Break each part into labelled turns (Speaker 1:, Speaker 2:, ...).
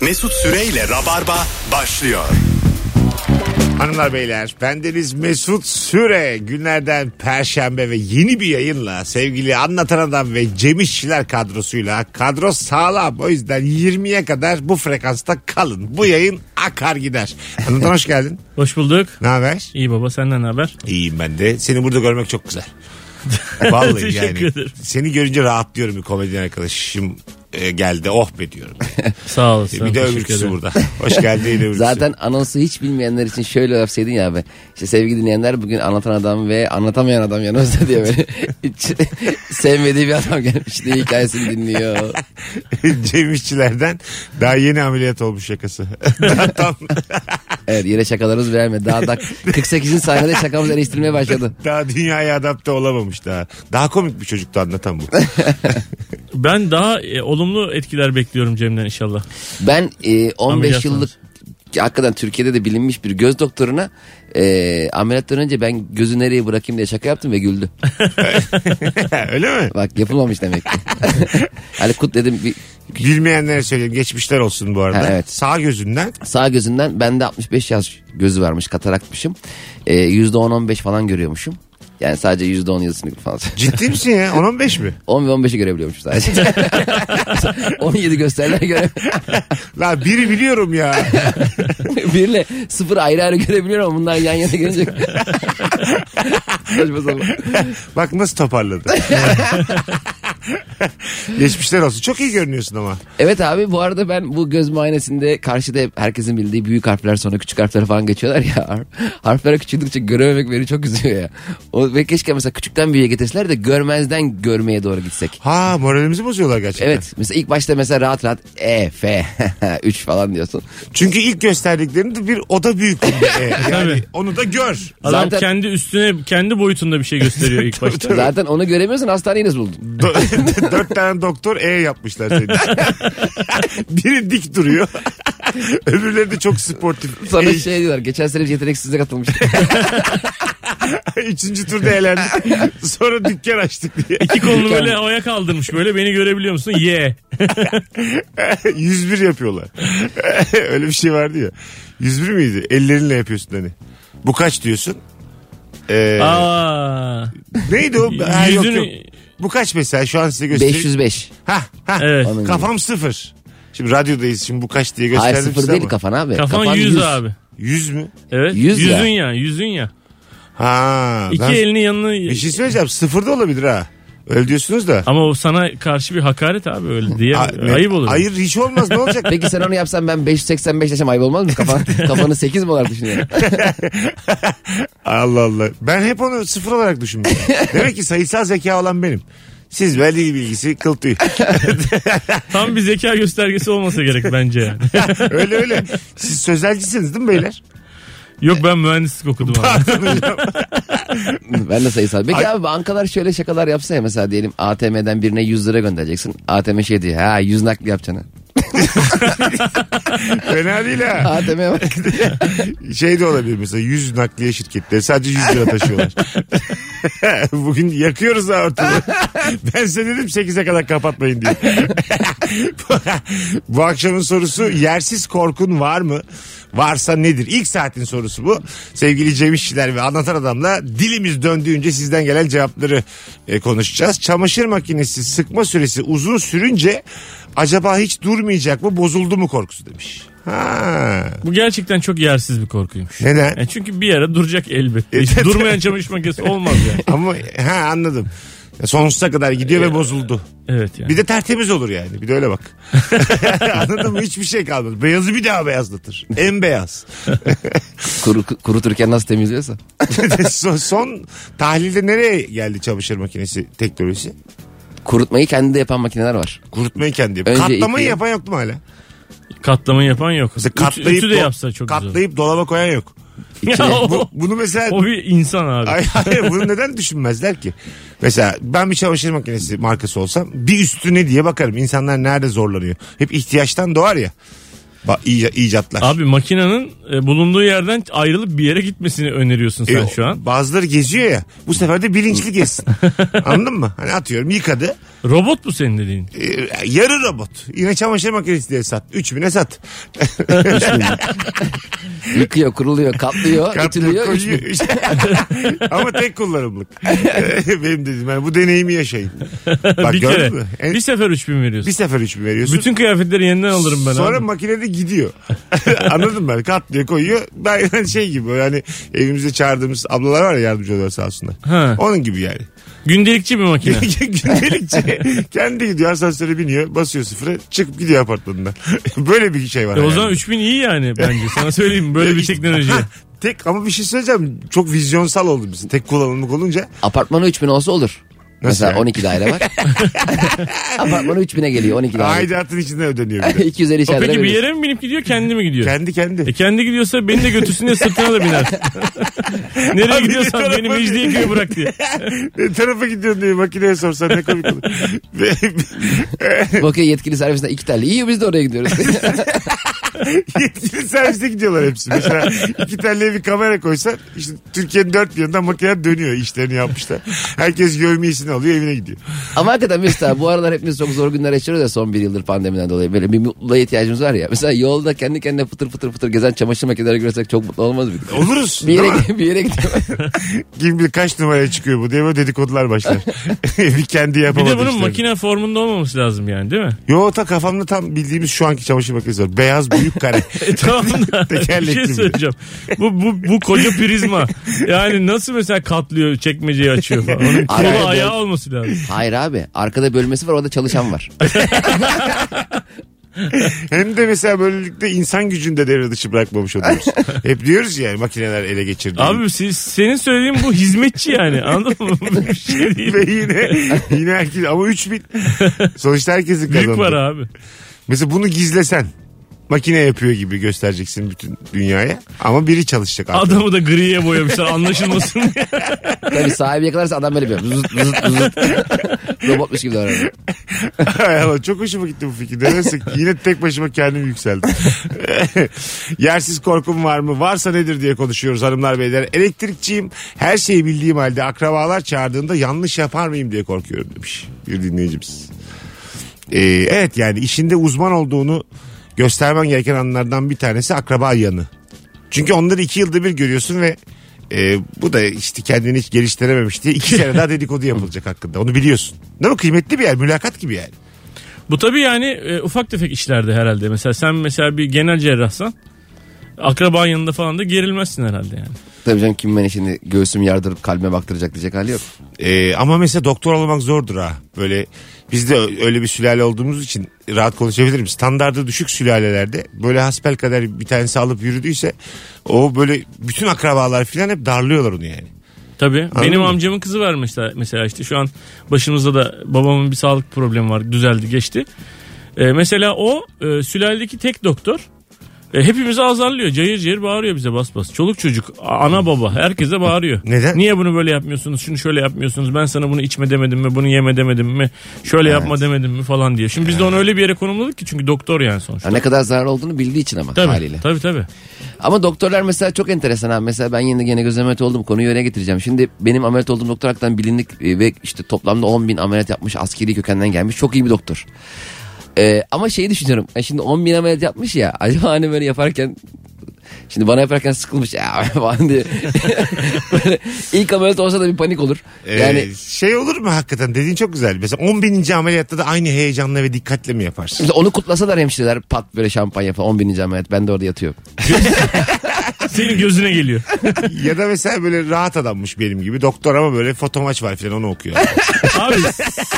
Speaker 1: Mesut Süreyle Rabarba başlıyor.
Speaker 2: Hanımlar beyler bendeniz Mesut Süre günlerden perşembe ve yeni bir yayınla sevgili anlatan adam ve Cem İşçiler kadrosuyla kadro sağlam o yüzden 20'ye kadar bu frekansta kalın bu yayın akar gider. Anlatan hoş geldin
Speaker 3: Hoş bulduk.
Speaker 2: ne haber?
Speaker 3: İyi baba senden ne haber?
Speaker 2: İyiyim ben de seni burada görmek çok güzel. Vallahi
Speaker 3: Teşekkür
Speaker 2: yani
Speaker 3: ederim.
Speaker 2: seni görünce rahatlıyorum bir komedyen arkadaşım e, geldi oh be diyorum.
Speaker 3: Sağ olasın.
Speaker 2: bir de
Speaker 3: teşekkür
Speaker 2: öbürküsü
Speaker 3: ederim.
Speaker 2: burada. Hoş geldin yine öbürküsü.
Speaker 4: Zaten anonsu hiç bilmeyenler için şöyle yapsaydın ya abi. İşte sevgili dinleyenler bugün anlatan adam ve anlatamayan adam yanımızda diye böyle hiç sevmediği bir adam gelmiş diye hikayesini dinliyor.
Speaker 2: Cem İşçilerden daha yeni ameliyat olmuş şakası. Daha tam,
Speaker 4: Evet yine şakalarımız vermedi. Daha da 48. sayfada şakamız eleştirmeye başladı.
Speaker 2: daha dünyaya adapte olamamış daha. Daha komik bir çocuktu anlatan bu.
Speaker 3: Ben daha e, olumlu etkiler bekliyorum Cem'den inşallah.
Speaker 4: Ben e, 15
Speaker 3: Ameliyat
Speaker 4: yıllık hakikaten Türkiye'de de bilinmiş bir göz doktoruna e, ameliyattan önce ben gözü nereye bırakayım diye şaka yaptım ve güldü.
Speaker 2: Öyle mi?
Speaker 4: Bak yapılmamış demek ki. hani kut dedim bir
Speaker 2: Bilmeyenlere söyleyeyim. Geçmişler olsun bu arada.
Speaker 4: Ha, evet.
Speaker 2: Sağ gözünden
Speaker 4: sağ gözünden bende 65 yaş gözü varmış kataraktmışım. Ee, %10-15 falan görüyormuşum. Yani sadece %10 yıldızını falan.
Speaker 2: ciddi misin ya? 10-15 mi?
Speaker 4: 10 ve 15'i görebiliyormuşum sadece. 17 gösteriler göre
Speaker 2: La biri biliyorum ya.
Speaker 4: birle sıfır ayrı ayrı görebiliyorum ama bunlar yan yana gelince. Saçma sapan.
Speaker 2: Bak nasıl toparladı. Geçmişler olsun. Çok iyi görünüyorsun ama.
Speaker 4: evet abi bu arada ben bu göz muayenesinde karşıda hep herkesin bildiği büyük harfler sonra küçük harfler falan geçiyorlar ya. Harf, harflere küçüldükçe görememek beni çok üzüyor ya. O, ve keşke mesela küçükten büyüğe getirseler de görmezden görmeye doğru gitsek.
Speaker 2: Ha moralimizi bozuyorlar gerçekten.
Speaker 4: Evet mesela ilk başta mesela rahat rahat E, F, 3 falan diyorsun.
Speaker 2: Çünkü ilk gösterdiklerinde bir oda büyüklüğünde. e. Yani
Speaker 3: Tabii.
Speaker 2: onu da gör.
Speaker 3: Adam
Speaker 4: Zaten-
Speaker 3: kendi üstüne kendi boyutunda bir şey gösteriyor ilk başta.
Speaker 4: Zaten onu göremiyorsun hastaneyiniz buldun.
Speaker 2: Dö- Dört tane doktor E yapmışlar seni. Biri dik duruyor. Öbürleri de çok sportif.
Speaker 4: Sana
Speaker 2: E,
Speaker 4: şey diyorlar geçen sene biz yeteneksizliğe katılmış.
Speaker 2: üçüncü turda eğlendik. Sonra dükkan açtık diye.
Speaker 3: İki kolunu böyle oya kaldırmış böyle beni görebiliyor musun? Ye.
Speaker 2: 101 yapıyorlar. Öyle bir şey vardı ya. 101 miydi? Ellerinle yapıyorsun hani. Bu kaç diyorsun? Ee,
Speaker 3: Aa.
Speaker 2: neydi o? Ha, yok,
Speaker 3: yüzünü-
Speaker 2: yok. Bu kaç mesela? Şu an size göstereyim.
Speaker 4: 505.
Speaker 2: Hah, hah.
Speaker 3: Evet.
Speaker 4: Onun gibi.
Speaker 2: Kafam sıfır. Şimdi radyodayız. Şimdi bu kaç diye gösterdim
Speaker 4: Hayır sıfır
Speaker 2: size
Speaker 4: değil
Speaker 2: ama.
Speaker 4: kafan abi.
Speaker 3: Kafan 100, abi.
Speaker 2: 100 mü?
Speaker 3: Evet.
Speaker 4: Yüz ya.
Speaker 3: yüzün ya. Yüzün ya.
Speaker 2: Ha.
Speaker 3: İki
Speaker 2: ben-
Speaker 3: elini yanına...
Speaker 2: Bir şey söyleyeceğim. Sıfır da olabilir ha. Öyle diyorsunuz da.
Speaker 3: Ama o sana karşı bir hakaret abi öyle diye.
Speaker 2: A- ne-
Speaker 3: Ayıp olur.
Speaker 2: Hayır hiç olmaz ne olacak?
Speaker 4: Peki sen onu yapsan ben 585 yaşam ayıp olmaz mı? Kafan, kafanı 8 mi olarak düşünüyorum?
Speaker 2: Allah Allah. Ben hep onu sıfır olarak düşünmüştüm. Demek ki sayısal zeka olan benim. Siz belli bilgisi kıl tüy.
Speaker 3: Tam bir zeka göstergesi olmasa gerek bence yani.
Speaker 2: öyle öyle. Siz sözelcisiniz değil mi beyler?
Speaker 3: Yok ben mühendislik okudum abi.
Speaker 4: ben de sayısal. Peki abi bankalar şöyle şakalar yapsa ya mesela diyelim ATM'den birine 100 lira göndereceksin. ATM şey diyor ha 100 nakli yapacaksın.
Speaker 2: Fena değil ha.
Speaker 4: ATM bak.
Speaker 2: Şey de olabilir mesela 100 nakliye şirketleri sadece 100 lira taşıyorlar. Bugün yakıyoruz ha ortalığı. Ben size dedim 8'e kadar kapatmayın diye. bu akşamın sorusu yersiz korkun var mı? Varsa nedir? İlk saatin sorusu bu. Sevgili Cem İşçiler ve Anlatan Adam'la dilimiz döndüğünce sizden gelen cevapları e, konuşacağız. Çamaşır makinesi sıkma süresi uzun sürünce acaba hiç durmayacak mı bozuldu mu korkusu demiş. Ha.
Speaker 3: Bu gerçekten çok yersiz bir korkuymuş.
Speaker 2: Neden?
Speaker 3: E çünkü bir ara duracak elbette.
Speaker 2: E,
Speaker 3: Hiç durmayan çamaşır makinesi olmaz yani.
Speaker 2: Ama ha anladım. E, Sonsuza kadar gidiyor ve bozuldu.
Speaker 3: Evet yani.
Speaker 2: Bir de tertemiz olur yani. Bir de öyle bak. Anladın mı? Hiçbir şey kalmadı. Beyazı bir daha beyazlatır. En beyaz.
Speaker 4: Kuru, kuruturken nasıl temizliyorsa.
Speaker 2: son, son tahlilde nereye geldi çamaşır makinesi teknolojisi?
Speaker 4: Kurutmayı kendi de yapan makineler var.
Speaker 2: Kurutmayı kendi yapıyor.
Speaker 4: Önce
Speaker 2: Katlamayı
Speaker 4: yıkıyor.
Speaker 2: yapan yok mu hala?
Speaker 3: Katlama yapan yok.
Speaker 2: Mesela
Speaker 3: Ütü-
Speaker 2: katlayıp,
Speaker 3: Ütü de
Speaker 2: do-
Speaker 3: yapsa çok güzel.
Speaker 2: katlayıp dolaba koyan yok.
Speaker 3: Ya o,
Speaker 2: Bu, bunu mesela...
Speaker 3: o bir insan abi.
Speaker 2: Ay, hayır, bunu neden düşünmezler ki? Mesela ben bir çamaşır makinesi markası olsam bir üstüne diye bakarım. İnsanlar nerede zorlanıyor? Hep ihtiyaçtan doğar ya. Ba- iy- icatlar.
Speaker 3: Abi makinenin e, bulunduğu yerden ayrılıp bir yere gitmesini öneriyorsun sen
Speaker 2: E,
Speaker 3: şu an.
Speaker 2: Bazıları geziyor ya. Bu sefer de bilinçli gezsin. Anladın mı? Hani atıyorum yıkadı.
Speaker 3: Robot mu senin dediğin?
Speaker 2: Ee, yarı robot. Yine çamaşır makinesi diye sat. 3000'e sat.
Speaker 4: Yıkıyor, kuruluyor, katlıyor, ütülüyor. üç bin.
Speaker 2: Koyuyor. Ama tek kullanımlık. Benim dedim yani bu deneyimi yaşayın. Bak
Speaker 3: bir
Speaker 2: gördün
Speaker 3: kere.
Speaker 2: mü? En-
Speaker 3: Bir sefer 3000
Speaker 2: bir
Speaker 3: veriyorsun.
Speaker 2: sefer 3000 veriyorsun.
Speaker 3: Bütün kıyafetleri yeniden alırım ben
Speaker 2: Sonra
Speaker 3: abi.
Speaker 2: makinede gidiyor. Anladın mı? Katlıyor koyuyor. Ben yani şey gibi yani evimize çağırdığımız ablalar var ya yardımcı oluyor sağ olsunlar.
Speaker 3: Ha.
Speaker 2: Onun gibi yani.
Speaker 3: Gündelikçi bir makine.
Speaker 2: Gündelikçe kendi gidiyor asansöre biniyor basıyor sıfıra çıkıp gidiyor apartmanından. Böyle bir şey var.
Speaker 3: E o
Speaker 2: yani. şey-
Speaker 3: zaman 3000 iyi yani bence. Sana söyleyeyim böyle bir teknoloji.
Speaker 2: Ha, Tek ama bir şey söyleyeceğim. Çok vizyonsal oldu bizim. Tek kullanımlık olunca.
Speaker 4: Apartmanı 3000 olsa olur. Mesela
Speaker 2: yani?
Speaker 4: 12 daire var. Apartmanı 3000'e geliyor 12 daire.
Speaker 2: Aidatın içinde ödeniyor bir de.
Speaker 4: 200'er
Speaker 3: O
Speaker 4: içeride.
Speaker 3: peki bir yere mi binip gidiyor kendi mi gidiyor?
Speaker 2: Kendi
Speaker 3: E
Speaker 2: kendi.
Speaker 3: kendi gidiyorsa beni de götürsün diye sırtına da biner. Nereye
Speaker 2: Abi bir
Speaker 3: gidiyorsan beni
Speaker 2: tarafa-
Speaker 3: Mecidiyeköy'e bırak diye.
Speaker 2: Ne E, tarafa gidiyorsun diye makineye sorsan ne komik olur.
Speaker 4: Bakıyor yetkili servisinden iki tane. İyi biz de oraya gidiyoruz.
Speaker 2: Yetkili servise gidiyorlar hepsi. Mesela iki tane bir kamera koysan işte Türkiye'nin dört bir yanından makineler dönüyor işlerini yapmışlar. Herkes gövmeyesini alıyor evine gidiyor.
Speaker 4: Ama hakikaten mesela bu aralar hepimiz çok zor günler yaşıyoruz ya son bir yıldır pandemiden dolayı. Böyle bir mutluluğa ihtiyacımız var ya. Mesela yolda kendi kendine fıtır fıtır fıtır gezen çamaşır makineleri görsek çok mutlu olmaz mıydık?
Speaker 2: Oluruz.
Speaker 4: Bir
Speaker 2: değil mi?
Speaker 4: yere, bir yere gidiyor.
Speaker 2: Kim bilir kaç numaraya çıkıyor bu diye böyle dedikodular başlar. bir kendi
Speaker 3: Bir
Speaker 2: yapamadı
Speaker 3: de bunun
Speaker 2: işlerini.
Speaker 3: makine formunda olmaması lazım yani değil mi?
Speaker 2: Yo ta kafamda tam bildiğimiz şu anki çamaşır makinesi var. Beyaz büyük kare.
Speaker 3: E tamam da bir
Speaker 2: Tekerlekli
Speaker 3: şey
Speaker 2: bir.
Speaker 3: söyleyeceğim. Bu, bu, bu koca prizma. Yani nasıl mesela katlıyor çekmeceyi açıyor falan. Onun kolu
Speaker 4: Araya
Speaker 3: ayağı
Speaker 4: bol-
Speaker 3: olması lazım.
Speaker 4: Hayır abi arkada bölmesi var orada çalışan var.
Speaker 2: Hem de mesela böylelikle insan gücünü de devre dışı bırakmamış oluyoruz. Hep diyoruz ya makineler ele geçirdi.
Speaker 3: Abi siz, senin söylediğin bu hizmetçi yani anladın mı? Bu bir şey değil.
Speaker 2: Ve yine yine herkes ama 3000 sonuçta herkesin kazandı.
Speaker 3: Büyük para abi.
Speaker 2: Mesela bunu gizlesen makine yapıyor gibi göstereceksin bütün dünyaya ama biri çalışacak artık.
Speaker 3: Adamı da griye boyamışlar anlaşılmasın diye.
Speaker 4: Tabii sahibi yakalarsa adam böyle yapıyor. Zıt zıt zıt. Robotmuş gibi davranıyor.
Speaker 2: Hay Allah, çok hoşuma gitti bu fikir. Neyse yine tek başıma kendim yükseldim. Yersiz korkum var mı? Varsa nedir diye konuşuyoruz hanımlar beyler. Elektrikçiyim. Her şeyi bildiğim halde akrabalar çağırdığında yanlış yapar mıyım diye korkuyorum demiş bir dinleyicimiz. Ee, evet yani işinde uzman olduğunu göstermen gereken anlardan bir tanesi akraba yanı. Çünkü onları iki yılda bir görüyorsun ve e, bu da işte kendini hiç geliştirememiş diye iki sene daha dedikodu yapılacak hakkında. Onu biliyorsun. Değil mi? Kıymetli bir yer. Mülakat gibi yani.
Speaker 3: Bu tabii yani e, ufak tefek işlerde herhalde. Mesela sen mesela bir genel cerrahsan akraban yanında falan da gerilmezsin herhalde yani.
Speaker 4: Tabii canım kim beni şimdi göğsümü yardırıp kalbime baktıracak diyecek hali yok.
Speaker 2: Ee, ama mesela doktor olmak zordur ha. Böyle biz de ö- öyle bir sülale olduğumuz için rahat konuşabilirim. Standardı düşük sülalelerde böyle hasbel kadar bir tanesi alıp yürüdüyse o böyle bütün akrabalar filan hep darlıyorlar onu yani.
Speaker 3: Tabii. benim
Speaker 2: mı?
Speaker 3: amcamın kızı var mesela, mesela işte şu an başımızda da babamın bir sağlık problemi var. Düzeldi geçti. E, mesela o e, sülaledeki tek doktor e, hepimizi azarlıyor. Cayır cayır bağırıyor bize bas bas. Çoluk çocuk, a- ana baba herkese bağırıyor.
Speaker 2: Neden?
Speaker 3: Niye bunu böyle yapmıyorsunuz? Şunu şöyle yapmıyorsunuz. Ben sana bunu içme demedim mi? Bunu yeme demedim mi? Şöyle yapma demedim mi falan diye. Şimdi biz de onu öyle bir yere konumladık ki çünkü doktor yani sonuçta.
Speaker 4: Ya
Speaker 2: Hani
Speaker 4: ne kadar zarar olduğunu bildiği için ama
Speaker 3: Tabii,
Speaker 4: haliyle.
Speaker 3: tabii tabii.
Speaker 4: Ama doktorlar mesela çok enteresan abi. Mesela ben yeni gene göz ameliyatı oldum. Konuyu öne getireceğim. Şimdi benim ameliyat olduğum doktor hakikaten bilindik e, ve işte toplamda 10 bin ameliyat yapmış. Askeri kökenden gelmiş. Çok iyi bir doktor. Ee, ama şeyi düşünüyorum. E şimdi 10 bin ameliyat yapmış ya. Acaba hani böyle yaparken Şimdi bana yaparken sıkılmış ya falan diye. Böyle ilk ameliyat olsa da bir panik olur.
Speaker 2: Ee,
Speaker 4: Yani
Speaker 2: şey olur mu hakikaten dediğin çok güzel. Mesela 10 bininci ameliyatta da aynı heyecanla ve dikkatle mi yaparsın?
Speaker 4: Mesela onu kutlasalar hemşireler pat böyle şampanya falan 10 bininci ameliyat ben de orada yatıyorum.
Speaker 3: Senin gözüne geliyor.
Speaker 2: ya da mesela böyle rahat adammış benim gibi doktor ama böyle fotomaç var filan onu okuyor.
Speaker 3: Abi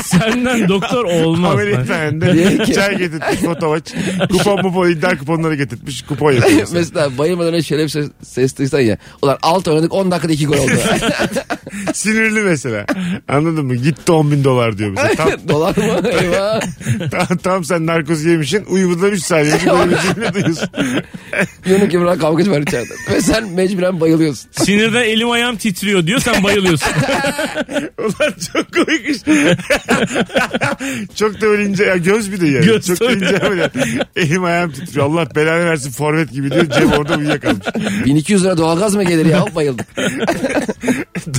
Speaker 3: senden doktor olmaz.
Speaker 2: Ameliyathanede çay getirtmiş fotomaç. Kupon mupon iddia kuponları getirtmiş kupon yapıyor. mesela.
Speaker 4: Mesela bayılmadan önce şöyle bir ses, ses duysan ya. Ulan alt oynadık 10 dakikada 2 gol oldu.
Speaker 2: Sinirli mesela. Anladın mı? Gitti 10 bin dolar diyor mesela. Tam,
Speaker 4: Dolar mı? Eyvah.
Speaker 2: tam, tam sen narkoz yemişsin. Uyumadan 3 saniye önce böyle bir cümle duyuyorsun.
Speaker 4: Yunus gibi lan kavga çıkar. aşağıdan. Ve sen mecburen bayılıyorsun.
Speaker 3: Sinirden elim ayağım titriyor diyor sen bayılıyorsun.
Speaker 2: Ulan çok komik iş. çok da öyle ince. ya göz bir de yani.
Speaker 3: Göz
Speaker 2: çok da
Speaker 3: tabii.
Speaker 2: ince böyle. Elim ayağım titriyor. Allah belanı versin forvet gibi diyor. Cem orada uyuyakalmış.
Speaker 4: 1200 lira doğalgaz mı gelir ya? Bayıldık.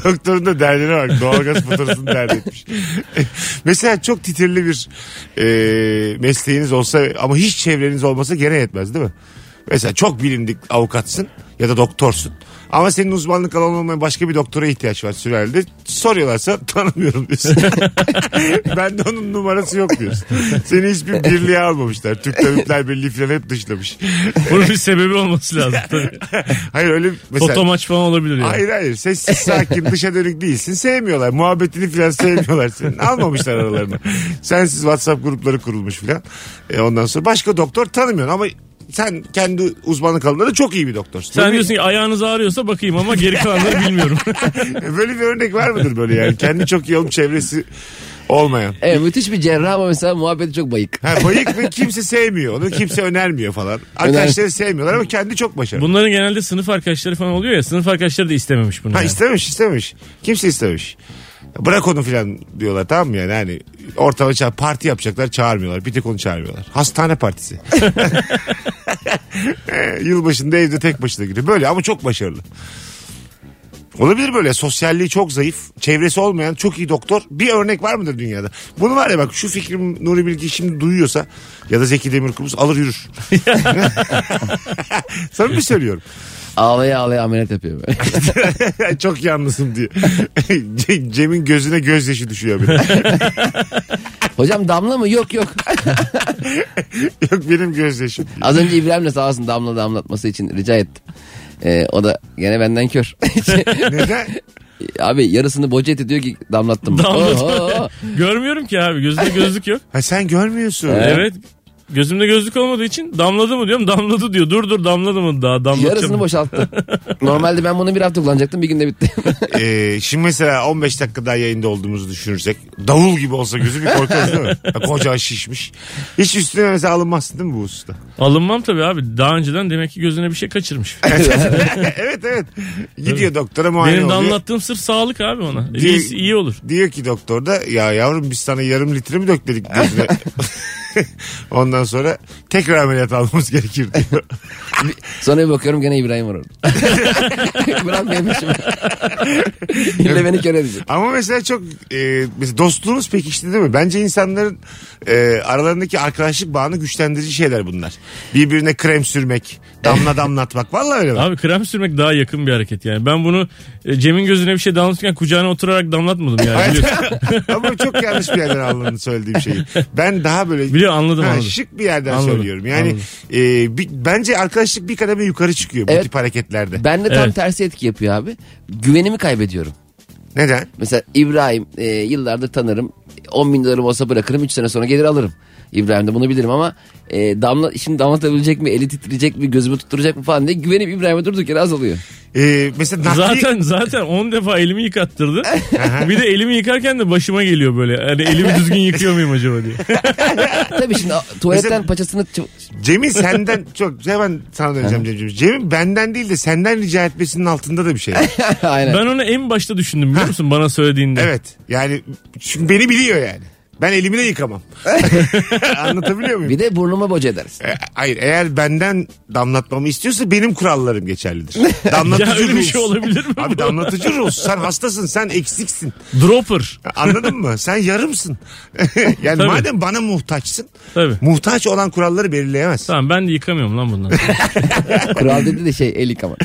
Speaker 2: Doktorun da derdine bak. Doğalgaz faturasını dert etmiş. Mesela çok titirli bir e, mesleğiniz olsa ama hiç çevreniz olmasa gene yetmez değil mi? Mesela çok bilindik avukatsın ya da doktorsun. Ama senin uzmanlık alanı olmayan başka bir doktora ihtiyaç var sürelde. Soruyorlarsa tanımıyorum diyorsun. ben de onun numarası yok diyorsun. Seni hiçbir birliğe almamışlar. Türk Tabipler Birliği falan hep dışlamış.
Speaker 3: Bunun bir sebebi olması lazım. Tabii.
Speaker 2: Hayır öyle mesela...
Speaker 3: Foto maç falan olabilir yani.
Speaker 2: Hayır hayır sessiz sakin dışa dönük değilsin sevmiyorlar muhabbetini filan sevmiyorlar senin almamışlar aralarını sensiz whatsapp grupları kurulmuş filan E, ondan sonra başka doktor tanımıyorsun ama sen kendi uzmanlık alanında da çok iyi bir doktorsun.
Speaker 3: Sen
Speaker 2: Böyle-
Speaker 3: diyorsun ki ayağınız ağrıyorsa bakayım ama geri kalanları bilmiyorum.
Speaker 2: Böyle bir örnek var mıdır böyle yani kendi çok iyi olup çevresi olmayan.
Speaker 4: Evet E, müthiş bir cerrah ama mesela muhabbeti çok bayık.
Speaker 2: Ha, bayık ve kimse sevmiyor onu kimse önermiyor falan. Arkadaşları sevmiyorlar ama kendi çok başarılı.
Speaker 3: Bunların genelde sınıf arkadaşları falan oluyor ya sınıf arkadaşları da istememiş bunu.
Speaker 2: Ha,
Speaker 3: yani.
Speaker 2: istemiş istemiş. Kimse istemiş. Bırak onu filan diyorlar tamam mı yani hani ortama ça- parti yapacaklar çağırmıyorlar bir tek onu çağırmıyorlar. Hastane partisi. Yılbaşında evde tek başına gidiyor böyle ama çok başarılı. Olabilir böyle sosyalliği çok zayıf çevresi olmayan çok iyi doktor bir örnek var mıdır dünyada? Bunu var ya bak şu fikrim Nuri Bilge şimdi duyuyorsa ya da Zeki Demirkubuz alır yürür. Samimi söylüyorum.
Speaker 4: Ağlaya ağlaya ameliyat yapıyor böyle.
Speaker 2: E, Çok yalnızım diye. Ce- Cem'in gözüne gözyaşı düşüyor benim.
Speaker 4: Hocam damla mı? Yok yok.
Speaker 2: Yok benim gözyaşım. diye.
Speaker 4: Az önce İbrahim'le sağ olsun damla damlatması için rica ettim. Ee, o da gene benden kör.
Speaker 2: Neden?
Speaker 4: Abi yarısını boca eti diyor ki damlattım.
Speaker 3: Damlat-
Speaker 4: Oho.
Speaker 3: Görmüyorum ki abi gözümde gözlük yok.
Speaker 2: Ha sen görmüyorsun.
Speaker 3: evet. Gözümde gözlük olmadığı için damladı mı diyorum damladı diyor. Dur dur damladı mı daha
Speaker 4: Yarısını
Speaker 3: damlatacağım.
Speaker 4: boşalttı. Normalde ben bunu bir hafta kullanacaktım bir günde bitti.
Speaker 2: Ee, şimdi mesela 15 dakika daha yayında olduğumuzu düşünürsek davul gibi olsa gözü bir korkarız değil mi? Ha, koca şişmiş. Hiç üstüne mesela alınmazsın değil mi bu usta?
Speaker 3: Alınmam tabii abi daha önceden demek ki gözüne bir şey kaçırmış.
Speaker 2: E, evet evet. Gidiyor doktora muayene
Speaker 3: Benim
Speaker 2: oluyor.
Speaker 3: damlattığım sırf sağlık abi ona.
Speaker 2: Değil.
Speaker 3: İyi, iyi olur.
Speaker 2: Diyor ki doktor da ya yavrum biz sana yarım litre mi dökledik gözüne? Ondan sonra tekrar ameliyat almamız gerekir diyor.
Speaker 4: Sonra bir bakıyorum gene İbrahim var orada. Bırakmayabilirim. Yine beni kör edecek.
Speaker 2: Ama mesela çok e, mesela dostluğumuz pekişti değil mi? Bence insanların e, aralarındaki arkadaşlık bağını güçlendirici şeyler bunlar. Birbirine krem sürmek, damla damlatmak. Vallahi öyle bak.
Speaker 3: Abi krem sürmek daha yakın bir hareket yani. Ben bunu e, Cem'in gözüne bir şey damlatırken kucağına oturarak damlatmadım yani. Biliyorsun,
Speaker 2: Ama çok yanlış bir yerden anladın söylediğim şeyi. Ben daha böyle
Speaker 3: biliyor anladım
Speaker 2: Ha,
Speaker 3: anladım.
Speaker 2: şık bir yerden
Speaker 3: Anladım,
Speaker 2: söylüyorum. Yani
Speaker 3: anladım.
Speaker 2: e, bi- bence arkadaşlık bir kademe yukarı çıkıyor bu
Speaker 4: Evet.
Speaker 2: tip hareketlerde.
Speaker 4: Ben de tam
Speaker 3: Evet.
Speaker 4: tersi etki yapıyor abi. Güvenimi kaybediyorum.
Speaker 2: Neden?
Speaker 4: Mesela İbrahim e, yıllardır tanırım. 10 bin dolarım olsa bırakırım 3 sene sonra gelir alırım. İbrahim de bunu bilirim ama e, damla, şimdi damlatabilecek mi, eli titreyecek mi, gözümü tutturacak mı falan diye güvenim İbrahim'e durduk yere azalıyor.
Speaker 2: E, mesela nakli...
Speaker 3: Zaten zaten 10 defa elimi yıkattırdı. bir de elimi yıkarken de başıma geliyor böyle. Hani elimi düzgün yıkıyor muyum acaba diye.
Speaker 4: Tabii şimdi a- tuvaletten
Speaker 2: Mesela-
Speaker 4: paçasını çı-
Speaker 2: Cem'in senden çok hemen sana döneceğim Cem'ciğim. Cem'in benden değil de senden rica etmesinin altında da bir şey. var.
Speaker 4: Aynen.
Speaker 3: Ben onu en başta düşündüm biliyor musun bana söylediğinde.
Speaker 2: Evet. Yani çünkü beni biliyor yani. Ben elimi de yıkamam. Anlatabiliyor muyum?
Speaker 4: Bir de burnuma boca ederiz.
Speaker 2: E, hayır eğer benden damlatmamı istiyorsa benim kurallarım geçerlidir. Damlatıcı
Speaker 3: Ya öyle bir
Speaker 2: ruhsun.
Speaker 3: şey olabilir mi?
Speaker 2: Abi
Speaker 3: bu?
Speaker 2: damlatıcı ruhsun. Sen hastasın, sen eksiksin.
Speaker 3: Dropper.
Speaker 2: Anladın mı? Sen yarımsın. yani
Speaker 3: Tabii.
Speaker 2: madem bana muhtaçsın,
Speaker 3: Tabii.
Speaker 2: muhtaç olan kuralları belirleyemez.
Speaker 3: Tamam ben de yıkamıyorum lan bundan.
Speaker 4: Kral dedi de şey el yıkama.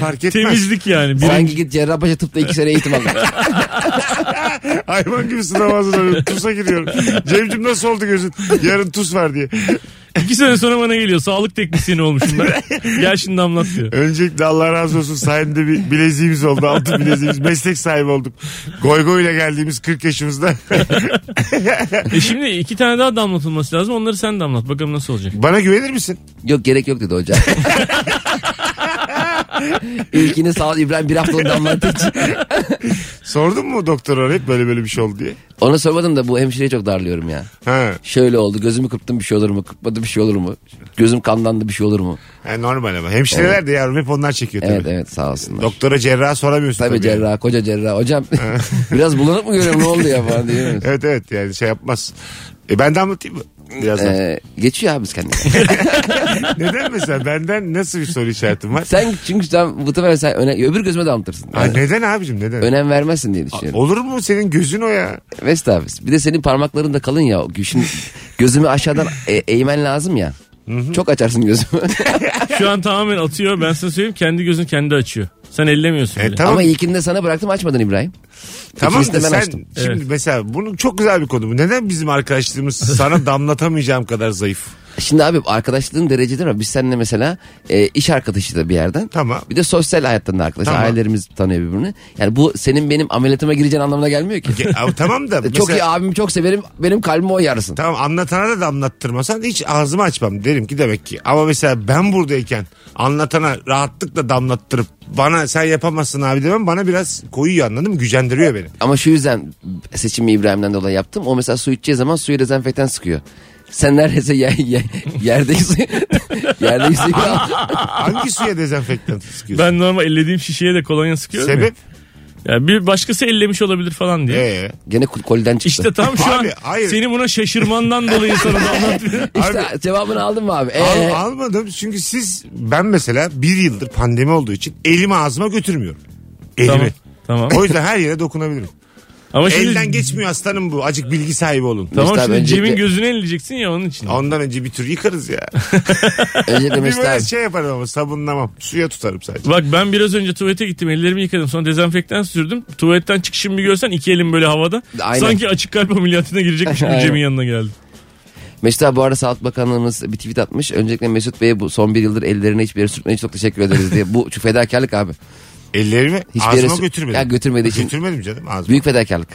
Speaker 2: Fark etmez.
Speaker 3: Temizlik yani. Birinci-
Speaker 4: Sanki git Cerrahpaşa tıpta 2 sene eğitim al.
Speaker 2: Hayvan gibi sınava hazırlanıyorum. Tusa giriyorum. Cemcim nasıl oldu gözün? Yarın tuz var diye.
Speaker 3: İki sene sonra bana geliyor. Sağlık teknisyeni olmuşum ben. Gel şimdi damlat diyor.
Speaker 2: Öncelikle Allah razı olsun sayende bir bileziğimiz oldu. Altın bileziğimiz. Meslek sahibi olduk. Goy goy ile geldiğimiz 40 yaşımızda.
Speaker 3: E şimdi iki tane daha damlatılması lazım. Onları sen damlat. Bakalım nasıl olacak.
Speaker 2: Bana güvenir misin?
Speaker 4: yok gerek yok dedi hoca. İlkini sağ ol İbrahim bir haftalık damlattı.
Speaker 2: Sordun mu doktora hep böyle böyle bir şey oldu diye?
Speaker 4: Ona sormadım da bu hemşireyi çok darlıyorum ya.
Speaker 2: Ha.
Speaker 4: Şöyle oldu gözümü kırptım bir şey olur mu? Kırpmadım bir şey olur mu? Gözüm kanlandı bir şey olur mu?
Speaker 2: Ha, e, normal ama. Hemşireler de yavrum hep onlar çekiyor tabii.
Speaker 4: Evet evet sağ olsunlar.
Speaker 2: Doktora cerrah soramıyorsun tabii.
Speaker 4: Tabii cerrah koca cerrah hocam biraz bulanık mı görüyorum ne oldu ya falan diyor.
Speaker 2: Evet evet yani şey yapmaz. E ben de anlatayım mı? Biraz daha.
Speaker 4: Ee, geçiyor abi biz kendine.
Speaker 2: Neden mesela benden nasıl bir soru işaretim var?
Speaker 4: sen çünkü sen bu sefer sen öne, öbür gözüme de anlatırsın.
Speaker 2: Ha, neden abicim neden?
Speaker 4: Önem vermezsin diye düşünüyorum.
Speaker 2: Olur mu senin gözün o ya?
Speaker 4: Vest abi. Bir de senin parmakların da kalın ya. O gö- Şimdi gözümü aşağıdan e- eğmen lazım ya. Çok açarsın gözümü.
Speaker 3: Şu an tamamen atıyor. Ben sana söyleyeyim kendi gözün kendi açıyor. Sen ellemiyorsun
Speaker 2: E,
Speaker 3: bile.
Speaker 2: tamam
Speaker 4: Ama ilkini de sana bıraktım açmadın İbrahim.
Speaker 2: tamam
Speaker 4: İkimiz
Speaker 2: da
Speaker 4: de ben
Speaker 2: sen
Speaker 4: açtım.
Speaker 2: şimdi
Speaker 3: Evet.
Speaker 2: mesela bunun çok güzel bir konu bu. Neden bizim arkadaşlığımız sana damlatamayacağım kadar zayıf?
Speaker 4: Şimdi abi arkadaşlığın dereceleri var. Biz seninle mesela e, iş arkadaşı da bir yerden.
Speaker 2: Tamam.
Speaker 4: Bir de sosyal hayattan da arkadaş.
Speaker 2: Tamam.
Speaker 4: Ailelerimiz tanıyor birbirini. Yani bu senin benim ameliyatıma gireceğin anlamına gelmiyor ki.
Speaker 2: Ge- Abi tamam da
Speaker 4: E, Çok iyi
Speaker 2: mesela-
Speaker 4: abim çok severim. Benim kalbimi o yarsın.
Speaker 2: Tamam anlatana da damlattırmasan hiç ağzımı açmam derim ki demek ki. Ama mesela ben buradayken anlatana rahatlıkla damlattırıp bana sen yapamazsın abi demem bana biraz koyuyor anladın mı? Gücendiriyor beni.
Speaker 4: Ama şu yüzden seçimi İbrahim'den dolayı yaptım. O mesela su içeceği zaman suyu dezenfektan sıkıyor. Sen neredeyse yer, yer, yerdeki suyu, yerdeki suyu al.
Speaker 2: Hangi suya dezenfektan sıkıyorsun?
Speaker 3: Ben normal ellediğim şişeye de kolonya sıkıyorum ya.
Speaker 2: Sebep?
Speaker 3: Ya bir başkası ellemiş olabilir falan diye.
Speaker 2: Ee,
Speaker 4: Gene kol- kolden çıktı.
Speaker 3: İşte tam şu
Speaker 2: Abi,
Speaker 3: an
Speaker 2: hayır.
Speaker 3: seni buna şaşırmandan dolayı sana da anlatmıyorum.
Speaker 4: İşte cevabını aldın mı abi? Ee,
Speaker 2: al- almadım çünkü siz ben mesela bir yıldır pandemi olduğu için elimi ağzıma götürmüyorum. Elimi.
Speaker 3: tamam. Tamam.
Speaker 2: O yüzden her yere dokunabilirim.
Speaker 3: Ama şimdi
Speaker 2: Elden geçmiyor aslanım bu. Acık bilgi sahibi olun.
Speaker 3: Tamam
Speaker 4: Mesut abi
Speaker 3: şimdi
Speaker 4: öncelikle-
Speaker 3: Cem'in gözünü elleyeceksin ya onun için.
Speaker 2: Ondan önce bir tür yıkarız ya.
Speaker 4: öncelikle
Speaker 2: bir
Speaker 4: Mesut
Speaker 2: böyle
Speaker 4: abi.
Speaker 2: şey yaparım ama sabunlamam. Suya tutarım sadece.
Speaker 3: Bak ben biraz önce tuvalete gittim ellerimi yıkadım sonra dezenfektan sürdüm. Tuvaletten çıkışımı bir görsen iki elim böyle havada.
Speaker 4: Aynen.
Speaker 3: Sanki açık kalp ameliyatına girecekmiş gibi
Speaker 4: Aynen.
Speaker 3: Cem'in yanına geldim.
Speaker 4: Mesut abi bu arada Sağlık Bakanlığımız bir tweet atmış. Öncelikle Mesut Bey'e bu son bir yıldır ellerine hiçbir yere sürtmeyen için çok teşekkür ederiz diye. Bu şu fedakarlık abi.
Speaker 2: Ellerimi
Speaker 4: Hiçbir yere
Speaker 2: ağzıma
Speaker 4: sür-
Speaker 2: götürmedim.
Speaker 4: Ya götürmediği için-
Speaker 2: Götürmedim canım ağzıma.
Speaker 4: Büyük fedakarlık.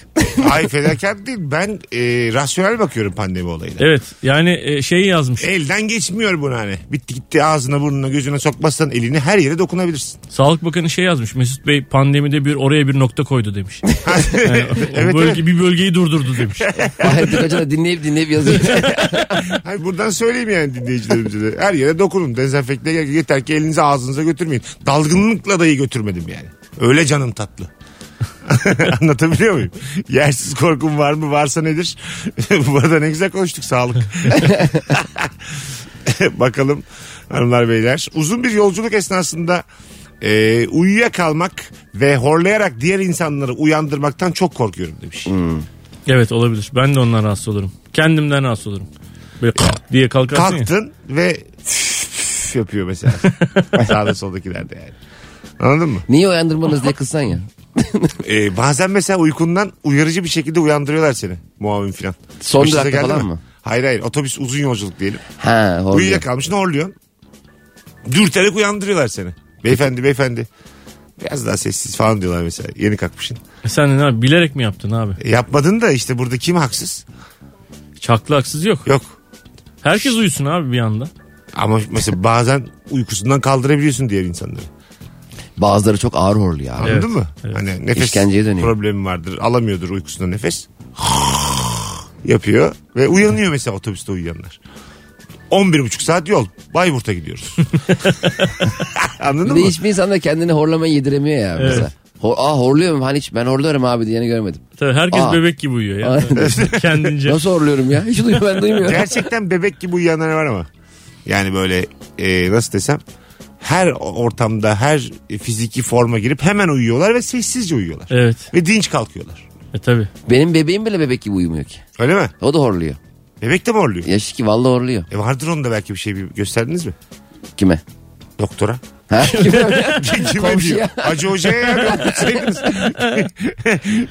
Speaker 2: Ay fedakar değil. Ben e, rasyonel bakıyorum pandemi olayına.
Speaker 3: Evet yani e, şey yazmış
Speaker 2: Elden geçmiyor bunu hani. Bitti gitti ağzına burnuna gözüne sokmazsan elini her yere dokunabilirsin.
Speaker 3: Sağlık Bakanı şey yazmış Mesut Bey pandemide bir oraya bir nokta koydu demiş. Yani o- o
Speaker 2: Evet,
Speaker 3: bölge, bir bölgeyi durdurdu demiş.
Speaker 4: Hayrettin Hoca da dinleyip dinleyip yazıyor.
Speaker 2: Hayır, buradan söyleyeyim yani dinleyicilerimize de. Her yere dokunun. Dezenfekte gerek yok. yeter ki elinizi ağzınıza götürmeyin. Dalgınlıkla dahi götürmedim yani. Öyle canım tatlı. Anlatabiliyor muyum? Yersiz korkum var mı? Varsa nedir? Bu arada ne güzel konuştuk. Sağlık. Bakalım hanımlar beyler. Uzun bir yolculuk esnasında e, uyuyakalmak ve horlayarak diğer insanları uyandırmaktan çok korkuyorum demiş.
Speaker 3: evet olabilir ben de ondan rahatsız olurum. Kendimden rahatsız olurum. Böyle diye kalkarsın ya.
Speaker 2: Kalktın ve yapıyor mesela. Sağda soldakilerde yani. Anladın mı?
Speaker 4: Niye uyandırmanız diye kızsan ya.
Speaker 2: Ee, bazen mesela uykundan uyarıcı bir şekilde uyandırıyorlar seni. Muavin filan.
Speaker 4: Son
Speaker 2: Başınıza
Speaker 4: durakta
Speaker 2: geldi
Speaker 4: falan
Speaker 2: mi?
Speaker 4: mı?
Speaker 2: Hayır hayır otobüs uzun yolculuk diyelim.
Speaker 4: Ha, horluyor.
Speaker 2: Uyuyakalmışsın horluyorsun. Dürterek uyandırıyorlar seni. Beyefendi beyefendi. Biraz daha sessiz falan diyorlar mesela. Yeni kalkmışsın.
Speaker 3: Sen de ne abi bilerek mi yaptın abi?
Speaker 2: E, yapmadın da işte burada kim haksız?
Speaker 3: Çaklı haksız yok.
Speaker 2: Yok.
Speaker 3: Herkes uyusun abi bir anda.
Speaker 2: Ama mesela bazen uykusundan kaldırabiliyorsun diğer insanları.
Speaker 4: Bazıları çok ağır horluyor abi.
Speaker 2: Anladın
Speaker 3: Evet,
Speaker 2: mı?
Speaker 3: evet.
Speaker 2: Hani nefes
Speaker 4: İşkenceye dönüyor.
Speaker 2: problemi vardır. Alamıyordur uykusunda nefes. yapıyor ve uyanıyor mesela otobüste uyuyanlar. 11,5 saat yol. Bayburt'a gidiyoruz.
Speaker 4: Bir
Speaker 2: Anladın
Speaker 4: de
Speaker 2: mı?
Speaker 4: hiçbir insan da kendini horlamayı yediremiyor ya. Mesela. Hor, aa horluyorum hani hiç ben horluyorum abi diyeni görmedim.
Speaker 3: Tabii herkes
Speaker 4: Aa.
Speaker 3: bebek gibi uyuyor ya.
Speaker 4: Aynen.
Speaker 3: Kendince.
Speaker 4: Nasıl horluyorum ya? Hiç duymuyorum ben duymuyorum.
Speaker 2: Gerçekten bebek gibi uyuyanlar var ama. Yani böyle e, nasıl desem her ortamda her fiziki forma girip hemen uyuyorlar ve sessizce uyuyorlar.
Speaker 3: Evet.
Speaker 2: Ve dinç kalkıyorlar.
Speaker 3: E tabi.
Speaker 4: Benim bebeğim bile bebek gibi uyumuyor ki.
Speaker 2: Öyle mi?
Speaker 4: O da horluyor.
Speaker 2: Bebek de mi horluyor?
Speaker 4: Yaşı ki vallahi horluyor.
Speaker 2: E vardır onda belki bir şey bir gösterdiniz mi?
Speaker 4: Kime?
Speaker 2: Doktora.
Speaker 4: Ha? Kime?
Speaker 2: Kime
Speaker 4: Komşuya.
Speaker 2: diyor? Hacı Hoca'ya ya bir baksaydınız.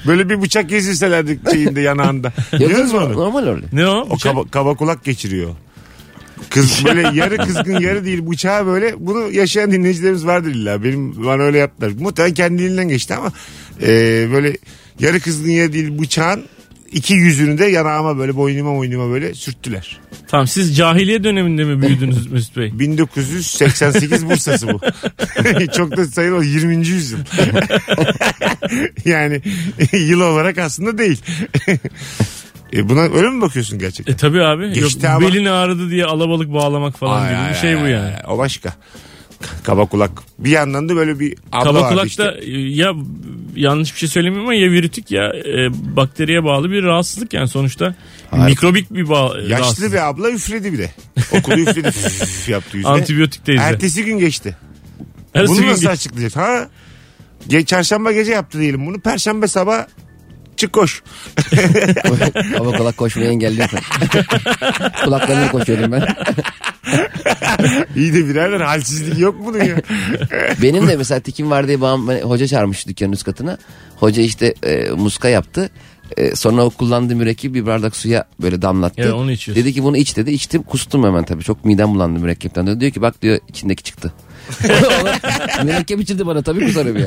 Speaker 2: Böyle bir bıçak gezilselerdi şeyinde yanağında. Biliyorsunuz mu onu?
Speaker 4: Normal horluyor.
Speaker 3: Ne o? şey-
Speaker 2: O kaba, kaba kulak geçiriyor. Kız böyle yarı kızgın yarı değil bıçağı böyle bunu yaşayan dinleyicilerimiz vardır illa benim bana öyle yaptılar. Muhtemelen kendiliğinden geçti ama e, böyle yarı kızgın yarı değil bıçağın iki yüzünü de yanağıma böyle boynuma boynuma böyle sürttüler.
Speaker 3: Tamam siz cahiliye döneminde mi büyüdünüz Mesut Bey?
Speaker 2: 1988 Bursa'sı bu. Çok da sayılı 20. yüzyıl. yani yıl olarak aslında değil. e buna öyle mi bakıyorsun gerçekten?
Speaker 3: E tabi abi. Yok,
Speaker 2: Geçti ama.
Speaker 3: belin ağrıdı diye alabalık bağlamak falan
Speaker 2: Ay,
Speaker 3: gibi
Speaker 2: ay,
Speaker 3: bir şey bu
Speaker 2: ay,
Speaker 3: yani.
Speaker 2: ay, O başka. Kaba kulak. Bir yandan da böyle bir abla
Speaker 3: Kaba
Speaker 2: vardı
Speaker 3: kulakta
Speaker 2: işte.
Speaker 3: e, ya yanlış bir şey söylemiyorum ama ya virütik ya e, bakteriye bağlı bir rahatsızlık yani sonuçta. Mikrobik bir bağ,
Speaker 2: Yaşlı
Speaker 3: rahatsızlık.
Speaker 2: bir abla üfledi bir de. Okulu üfledi. Üf yaptı yüzüne.
Speaker 3: Antibiyotik teyze.
Speaker 2: Ertesi gün geçti.
Speaker 3: Ertesi
Speaker 2: bunu
Speaker 3: gün
Speaker 2: nasıl
Speaker 3: git-
Speaker 2: açıklayacak? Ha? Ge çarşamba gece yaptı diyelim bunu. Perşembe sabah çık koş.
Speaker 4: Ama kulak koşmayı engelliyor. Kulaklarına koşuyordum ben.
Speaker 2: İyi de birader halsizlik yok bunun ya.
Speaker 4: Benim de mesela tikim var diye babam beni- hoca çağırmış dükkanın üst katına. Hoca işte e, muska yaptı. E, sonra o kullandığı mürekkebi bir bardak suya böyle damlattı.
Speaker 3: Evet, onu içiyorsun.
Speaker 4: Dedi ki bunu iç dedi. İçtim kustum hemen tabii. Çok midem bulandı mürekkepten. Dedi, diyor ki bak diyor içindeki çıktı. Mürekkep içirdi bana tabii kusarım ya.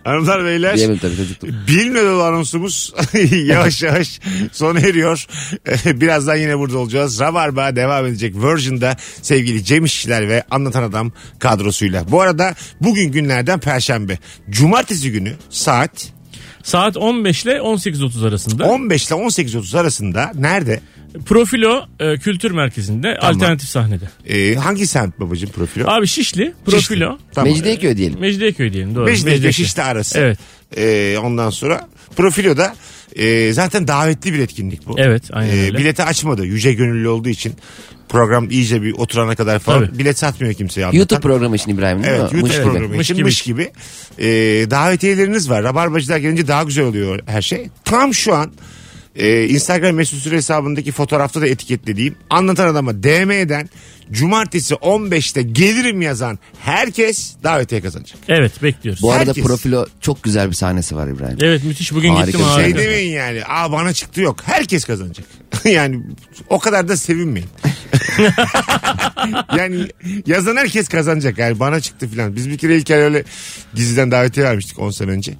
Speaker 2: Hanımlar beyler.
Speaker 4: Diyemem tabii çocuktum.
Speaker 2: Bilme dolu anonsumuz yavaş yavaş sona eriyor. Birazdan yine burada olacağız. Rabarba devam edecek Virgin'da sevgili Cem İşçiler ve Anlatan Adam kadrosuyla. Bu arada bugün günlerden Perşembe. Cumartesi günü saat
Speaker 3: Saat 15 ile 18.30 arasında.
Speaker 2: 15 ile 18.30 arasında nerede?
Speaker 3: Profilo e, Kültür Merkezi'nde alternatif sahnede.
Speaker 2: Ee, hangi semt babacığım profilo?
Speaker 3: Abi Şişli, Profilo.
Speaker 2: Şişli. Tamam.
Speaker 4: Mecidiyeköy diyelim.
Speaker 3: Mecidiyeköy diyelim doğru.
Speaker 2: Beşiktaş Şişli arası.
Speaker 3: Evet.
Speaker 2: Ee, ondan sonra Profilo'da e, zaten davetli bir etkinlik bu.
Speaker 3: Evet, aynen
Speaker 2: Ee,
Speaker 3: öyle.
Speaker 2: Bileti açmadı yüce gönüllü olduğu için. Program iyice bir oturana kadar falan
Speaker 3: Tabii.
Speaker 2: bilet satmıyor kimseye. anlatan.
Speaker 4: YouTube programı için İbrahim değil
Speaker 2: Evet
Speaker 4: mi?
Speaker 2: YouTube
Speaker 4: Muş gibi.
Speaker 2: programı
Speaker 3: Mış
Speaker 2: için
Speaker 3: gibi.
Speaker 2: mış gibi. Ee, davetiyeleriniz var. Rabarbacılar gelince daha güzel oluyor her şey. Tam şu an e, Instagram mesut süre hesabındaki fotoğrafta da etiketlediğim anlatan adama DM'den cumartesi 15'te gelirim yazan herkes davetiye kazanacak.
Speaker 3: Evet bekliyoruz.
Speaker 4: Bu arada
Speaker 2: Herkes.
Speaker 4: profilo çok güzel bir sahnesi var İbrahim.
Speaker 3: Evet müthiş bugün
Speaker 4: Harika
Speaker 3: gittim
Speaker 4: bir şey
Speaker 3: harika.
Speaker 2: Şey demeyin yani. Aa bana çıktı yok. Herkes kazanacak. yani o kadar da sevinmeyin. yani yazan herkes kazanacak. Yani bana çıktı filan. Biz bir kere İlker öyle diziden davetiye vermiştik 10 sene önce.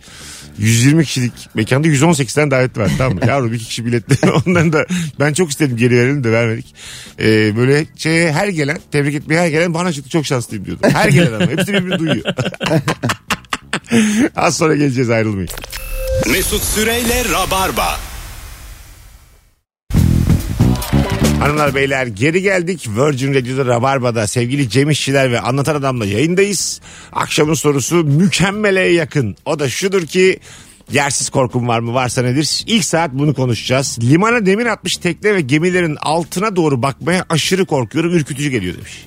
Speaker 2: 120 kişilik mekanda 118 tane davet var tamam mı? Yavrum iki kişi biletli. Ondan da ben çok istedim geri verelim de vermedik. Ee, böyle şey her gelen tebrik etmeye her gelen bana çıktı çok şanslıyım diyordu. Her gelen ama hepsi birbirini duyuyor. Az sonra geleceğiz ayrılmayın.
Speaker 1: Mesut Süreyle Rabarba.
Speaker 2: Hanımlar beyler geri geldik. Virgin Radio'da Rabarba'da sevgili Cem İşçiler ve Anlatan Adam'la yayındayız. Akşamın sorusu mükemmele yakın. O da şudur ki yersiz korkum var mı varsa nedir? İlk saat bunu konuşacağız. Limana demir atmış tekne ve gemilerin altına doğru bakmaya aşırı korkuyorum. Ürkütücü geliyor demiş.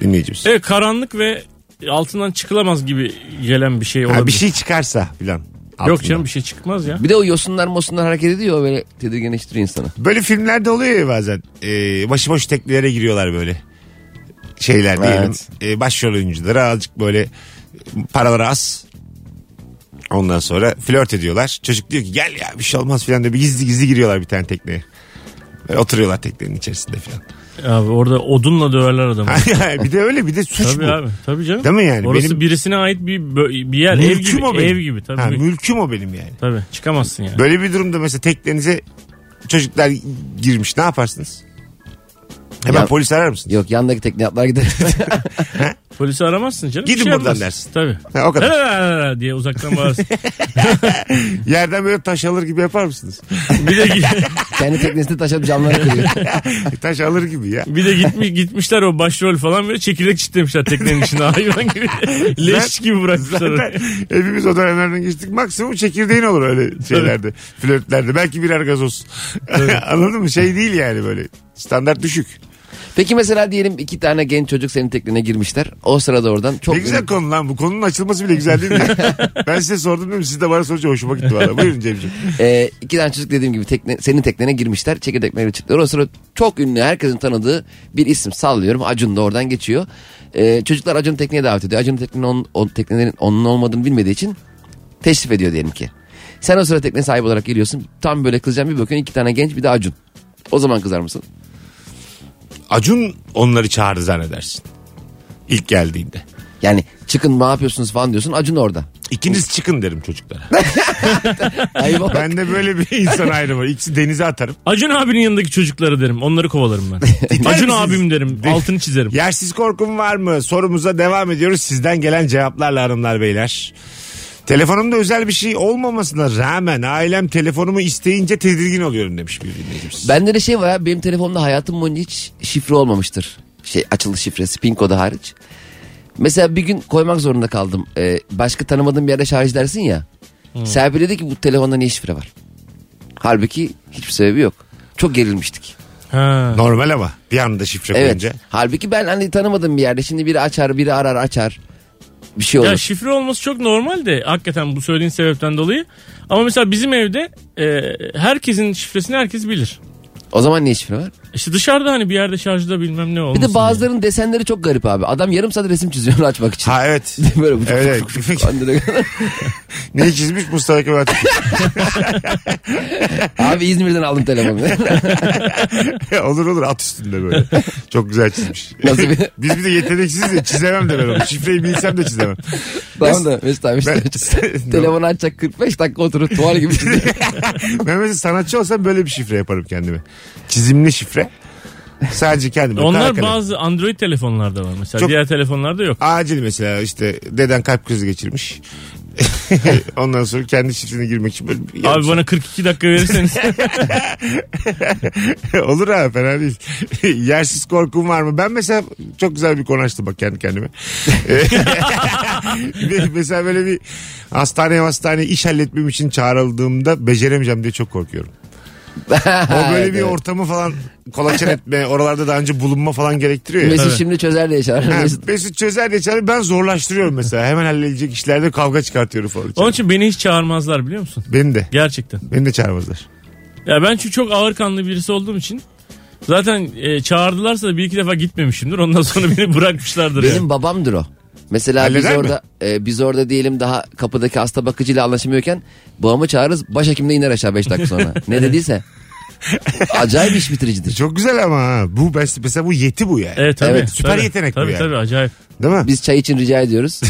Speaker 2: Dinleyicimiz.
Speaker 3: Evet karanlık ve altından çıkılamaz gibi gelen bir şey olabilir.
Speaker 2: Ha, bir şey çıkarsa filan. altından.
Speaker 3: Yok canım bir şey çıkmaz ya.
Speaker 4: Bir de o yosunlar mosunlar hareket ediyor böyle tedirginleştiriyor insanı.
Speaker 2: Böyle filmlerde oluyor ya bazen. Ee, başıboş teknelere giriyorlar böyle. Şeyler diyelim.
Speaker 4: Evet.
Speaker 2: Ee, başrol oyuncuları azıcık böyle paraları az. Ondan sonra flört ediyorlar. Çocuk diyor ki gel ya bir şey olmaz filan diyor. Bir gizli gizli giriyorlar bir tane tekneye. Böyle oturuyorlar teknenin içerisinde filan.
Speaker 3: Abi orada odunla döverler adamı.
Speaker 2: bir de öyle bir de suç
Speaker 3: tabii
Speaker 2: bu.
Speaker 3: abi tabii canım.
Speaker 2: Değil mi yani?
Speaker 3: Orası
Speaker 2: Benim-
Speaker 3: birisine ait bir bö- bir yer ev
Speaker 2: Mülküm
Speaker 3: gibi
Speaker 2: o benim.
Speaker 3: ev gibi tabii.
Speaker 2: Ha, mülküm o benim yani.
Speaker 3: tabii çıkamazsın yani.
Speaker 2: Böyle bir durumda mesela teknenize çocuklar girmiş ne yaparsınız? Hemen
Speaker 4: Ya-
Speaker 2: polis arar mısınız?
Speaker 4: Yok yandaki tekne atlar gider.
Speaker 3: Polisi aramazsın canım. bir
Speaker 2: Gidin
Speaker 3: şey
Speaker 2: buradan
Speaker 3: yapmazsın.
Speaker 2: dersin.
Speaker 3: Tabii.
Speaker 2: Ha, o kadar.
Speaker 3: La la la la la diye uzaktan bağırsın.
Speaker 2: Yerden böyle taş alır gibi yapar mısınız?
Speaker 3: bir de gi-
Speaker 4: Kendi teknesini taşıp camları kırıyor.
Speaker 2: E, taş alır gibi ya.
Speaker 3: bir de gitmiş gitmişler o başrol falan böyle çekirdek çitlemişler teknenin içine hayvan gibi. Leş gibi bırakmışlar. orayı.
Speaker 2: Zaten hepimiz o dönemlerden geçtik. Maksimum çekirdeğin olur öyle şeylerde. flörtlerde. Belki birer gazoz. Anladın mı? Şey değil yani böyle. Standart düşük.
Speaker 4: Peki mesela diyelim iki tane genç çocuk senin teknene girmişler. O sırada oradan çok...
Speaker 2: ne güzel konu lan. Bu konunun açılması bile güzel değil mi? ben size sordum değil mi? Siz de bana sorunca hoşuma gitti valla. Buyurun Cemciğim.
Speaker 4: Ee, iki tane çocuk dediğim gibi tekne, senin teknene girmişler. Çekirdek meyve çıktılar. O sırada çok ünlü herkesin tanıdığı bir isim sallıyorum. Acun da oradan geçiyor. Ee, çocuklar Acun'u tekneye davet ediyor. Acun'un teknenin, on, o teknenin onun olmadığını bilmediği için teşrif ediyor diyelim ki. Sen o sırada tekne sahibi olarak geliyorsun. Tam böyle kızacağım bir bakıyorsun iki tane genç bir de Acun. O zaman kızar mısın?
Speaker 2: Acun onları çağırdı zannedersin. İlk geldiğinde.
Speaker 4: Yani çıkın ne yapıyorsunuz falan diyorsun Acun orada.
Speaker 2: İkiniz çıkın derim çocuklara.
Speaker 4: Ayıp ama.
Speaker 2: ben de böyle bir insan ayrımı. İkisi denize atarım.
Speaker 3: Acun abinin yanındaki çocukları derim. Onları kovalarım ben. Acun
Speaker 2: misiniz?
Speaker 3: abim derim. Altını çizerim.
Speaker 2: Yersiz korkum var mı? Sorumuza devam ediyoruz. Sizden gelen cevaplarla hanımlar beyler. Telefonumda özel bir şey olmamasına rağmen ailem telefonumu isteyince tedirgin oluyorum demiş bir dinleyicimiz.
Speaker 4: Bende de şey var ya benim telefonda hayatım boyunca hiç şifre olmamıştır. Şey açılış şifresi pin kodu hariç. Mesela bir gün koymak zorunda kaldım. Ee, başka tanımadığım bir yerde şarj dersin ya.
Speaker 2: Hmm.
Speaker 4: Serpil dedi ki bu telefonda niye şifre var? Halbuki hiçbir sebebi yok. Çok gerilmiştik.
Speaker 3: Ha.
Speaker 2: Normal ama bir anda şifre
Speaker 4: Evet.
Speaker 2: koyunca.
Speaker 4: Halbuki ben hani tanımadığım bir yerde şimdi biri açar biri arar açar. Bir şey olur.
Speaker 3: Ya şifre olması çok normal de hakikaten bu söylediğin sebepten dolayı. Ama mesela bizim evde e, herkesin şifresini herkes bilir.
Speaker 4: o zaman niye şifre var?
Speaker 3: İşte dışarıda hani bir yerde şarjda bilmem ne
Speaker 4: Bir
Speaker 3: olmasın.
Speaker 4: de
Speaker 3: diye.
Speaker 4: bazılarının desenleri çok garip abi. Adam yarım saat resim çiziyor onu açmak için.
Speaker 2: Ha evet.
Speaker 4: Böyle bu
Speaker 2: Evet. Neyi çizmiş Mustafa Kemal Atatürk?
Speaker 4: Abi İzmir'den aldım telefonu.
Speaker 2: olur olur at üstünde böyle. Çok güzel çizmiş.
Speaker 4: Nasıl bir-
Speaker 2: Biz bir de yeteneksiziz ya çizemem de ben onu. Şifreyi bilsem de çizemem.
Speaker 4: tamam da Mesut abi işte.
Speaker 2: Ben-
Speaker 4: Telefonu açacak 45 dakika oturup tuval gibi çiziyor.
Speaker 2: Ben mesela sanatçı olsam böyle bir şifre yaparım kendime. Çizimli şifre. Sadece kendime.
Speaker 3: Onlar
Speaker 2: Kara kalem.
Speaker 3: bazı Android telefonlarda var mesela.
Speaker 2: Çok-
Speaker 3: Diğer telefonlarda yok.
Speaker 2: Acil mesela işte deden kalp krizi geçirmiş. Ondan sonra kendi şifrene girmek için böyle bir-
Speaker 3: Abi bana 42 dakika verirseniz
Speaker 2: Olur ha fena değil. Yersiz korkum var mı? Ben mesela çok güzel bir konu açtım bak kendi kendime. Ve mesela böyle bir hastaneye hastane iş halletmem için çağrıldığımda beceremeyeceğim diye çok korkuyorum. O böyle bir ortamı falan kolaçan etme, oralarda daha önce bulunma falan gerektiriyor ya.
Speaker 4: Mesut şimdi çözer diye
Speaker 2: Ha,
Speaker 4: çağırır. Mesut-
Speaker 2: Mesut çözer diye çağırıyor. Ben zorlaştırıyorum mesela. Hemen halledilecek işlerde kavga çıkartıyorum falan.
Speaker 3: onun için beni hiç çağırmazlar biliyor musun?
Speaker 2: Beni de.
Speaker 3: Gerçekten.
Speaker 2: Beni de çağırmazlar.
Speaker 3: Ya ben çünkü çok ağır kanlı birisi olduğum için zaten e, çağırdılarsa da bir iki defa gitmemişimdir. Ondan sonra beni bırakmışlardır. yani.
Speaker 4: Benim babamdır o. Mesela biz
Speaker 2: Halleder mi?
Speaker 4: orada e, biz orada diyelim daha kapıdaki hasta bakıcıyla anlaşamıyorken babamı çağırırız başhekimle iner aşağı 5 dakika sonra. ne dediyse. Acayip iş bitiricidir.
Speaker 2: Çok güzel ama ha. Bu mesela bu yeti bu yani.
Speaker 3: Evet tabii.
Speaker 4: Evet,
Speaker 2: süper
Speaker 3: Tabii.
Speaker 2: yetenek bu
Speaker 3: tabii,
Speaker 2: yani.
Speaker 3: Tabii acayip.
Speaker 2: Değil mi?
Speaker 4: Biz çay için rica ediyoruz.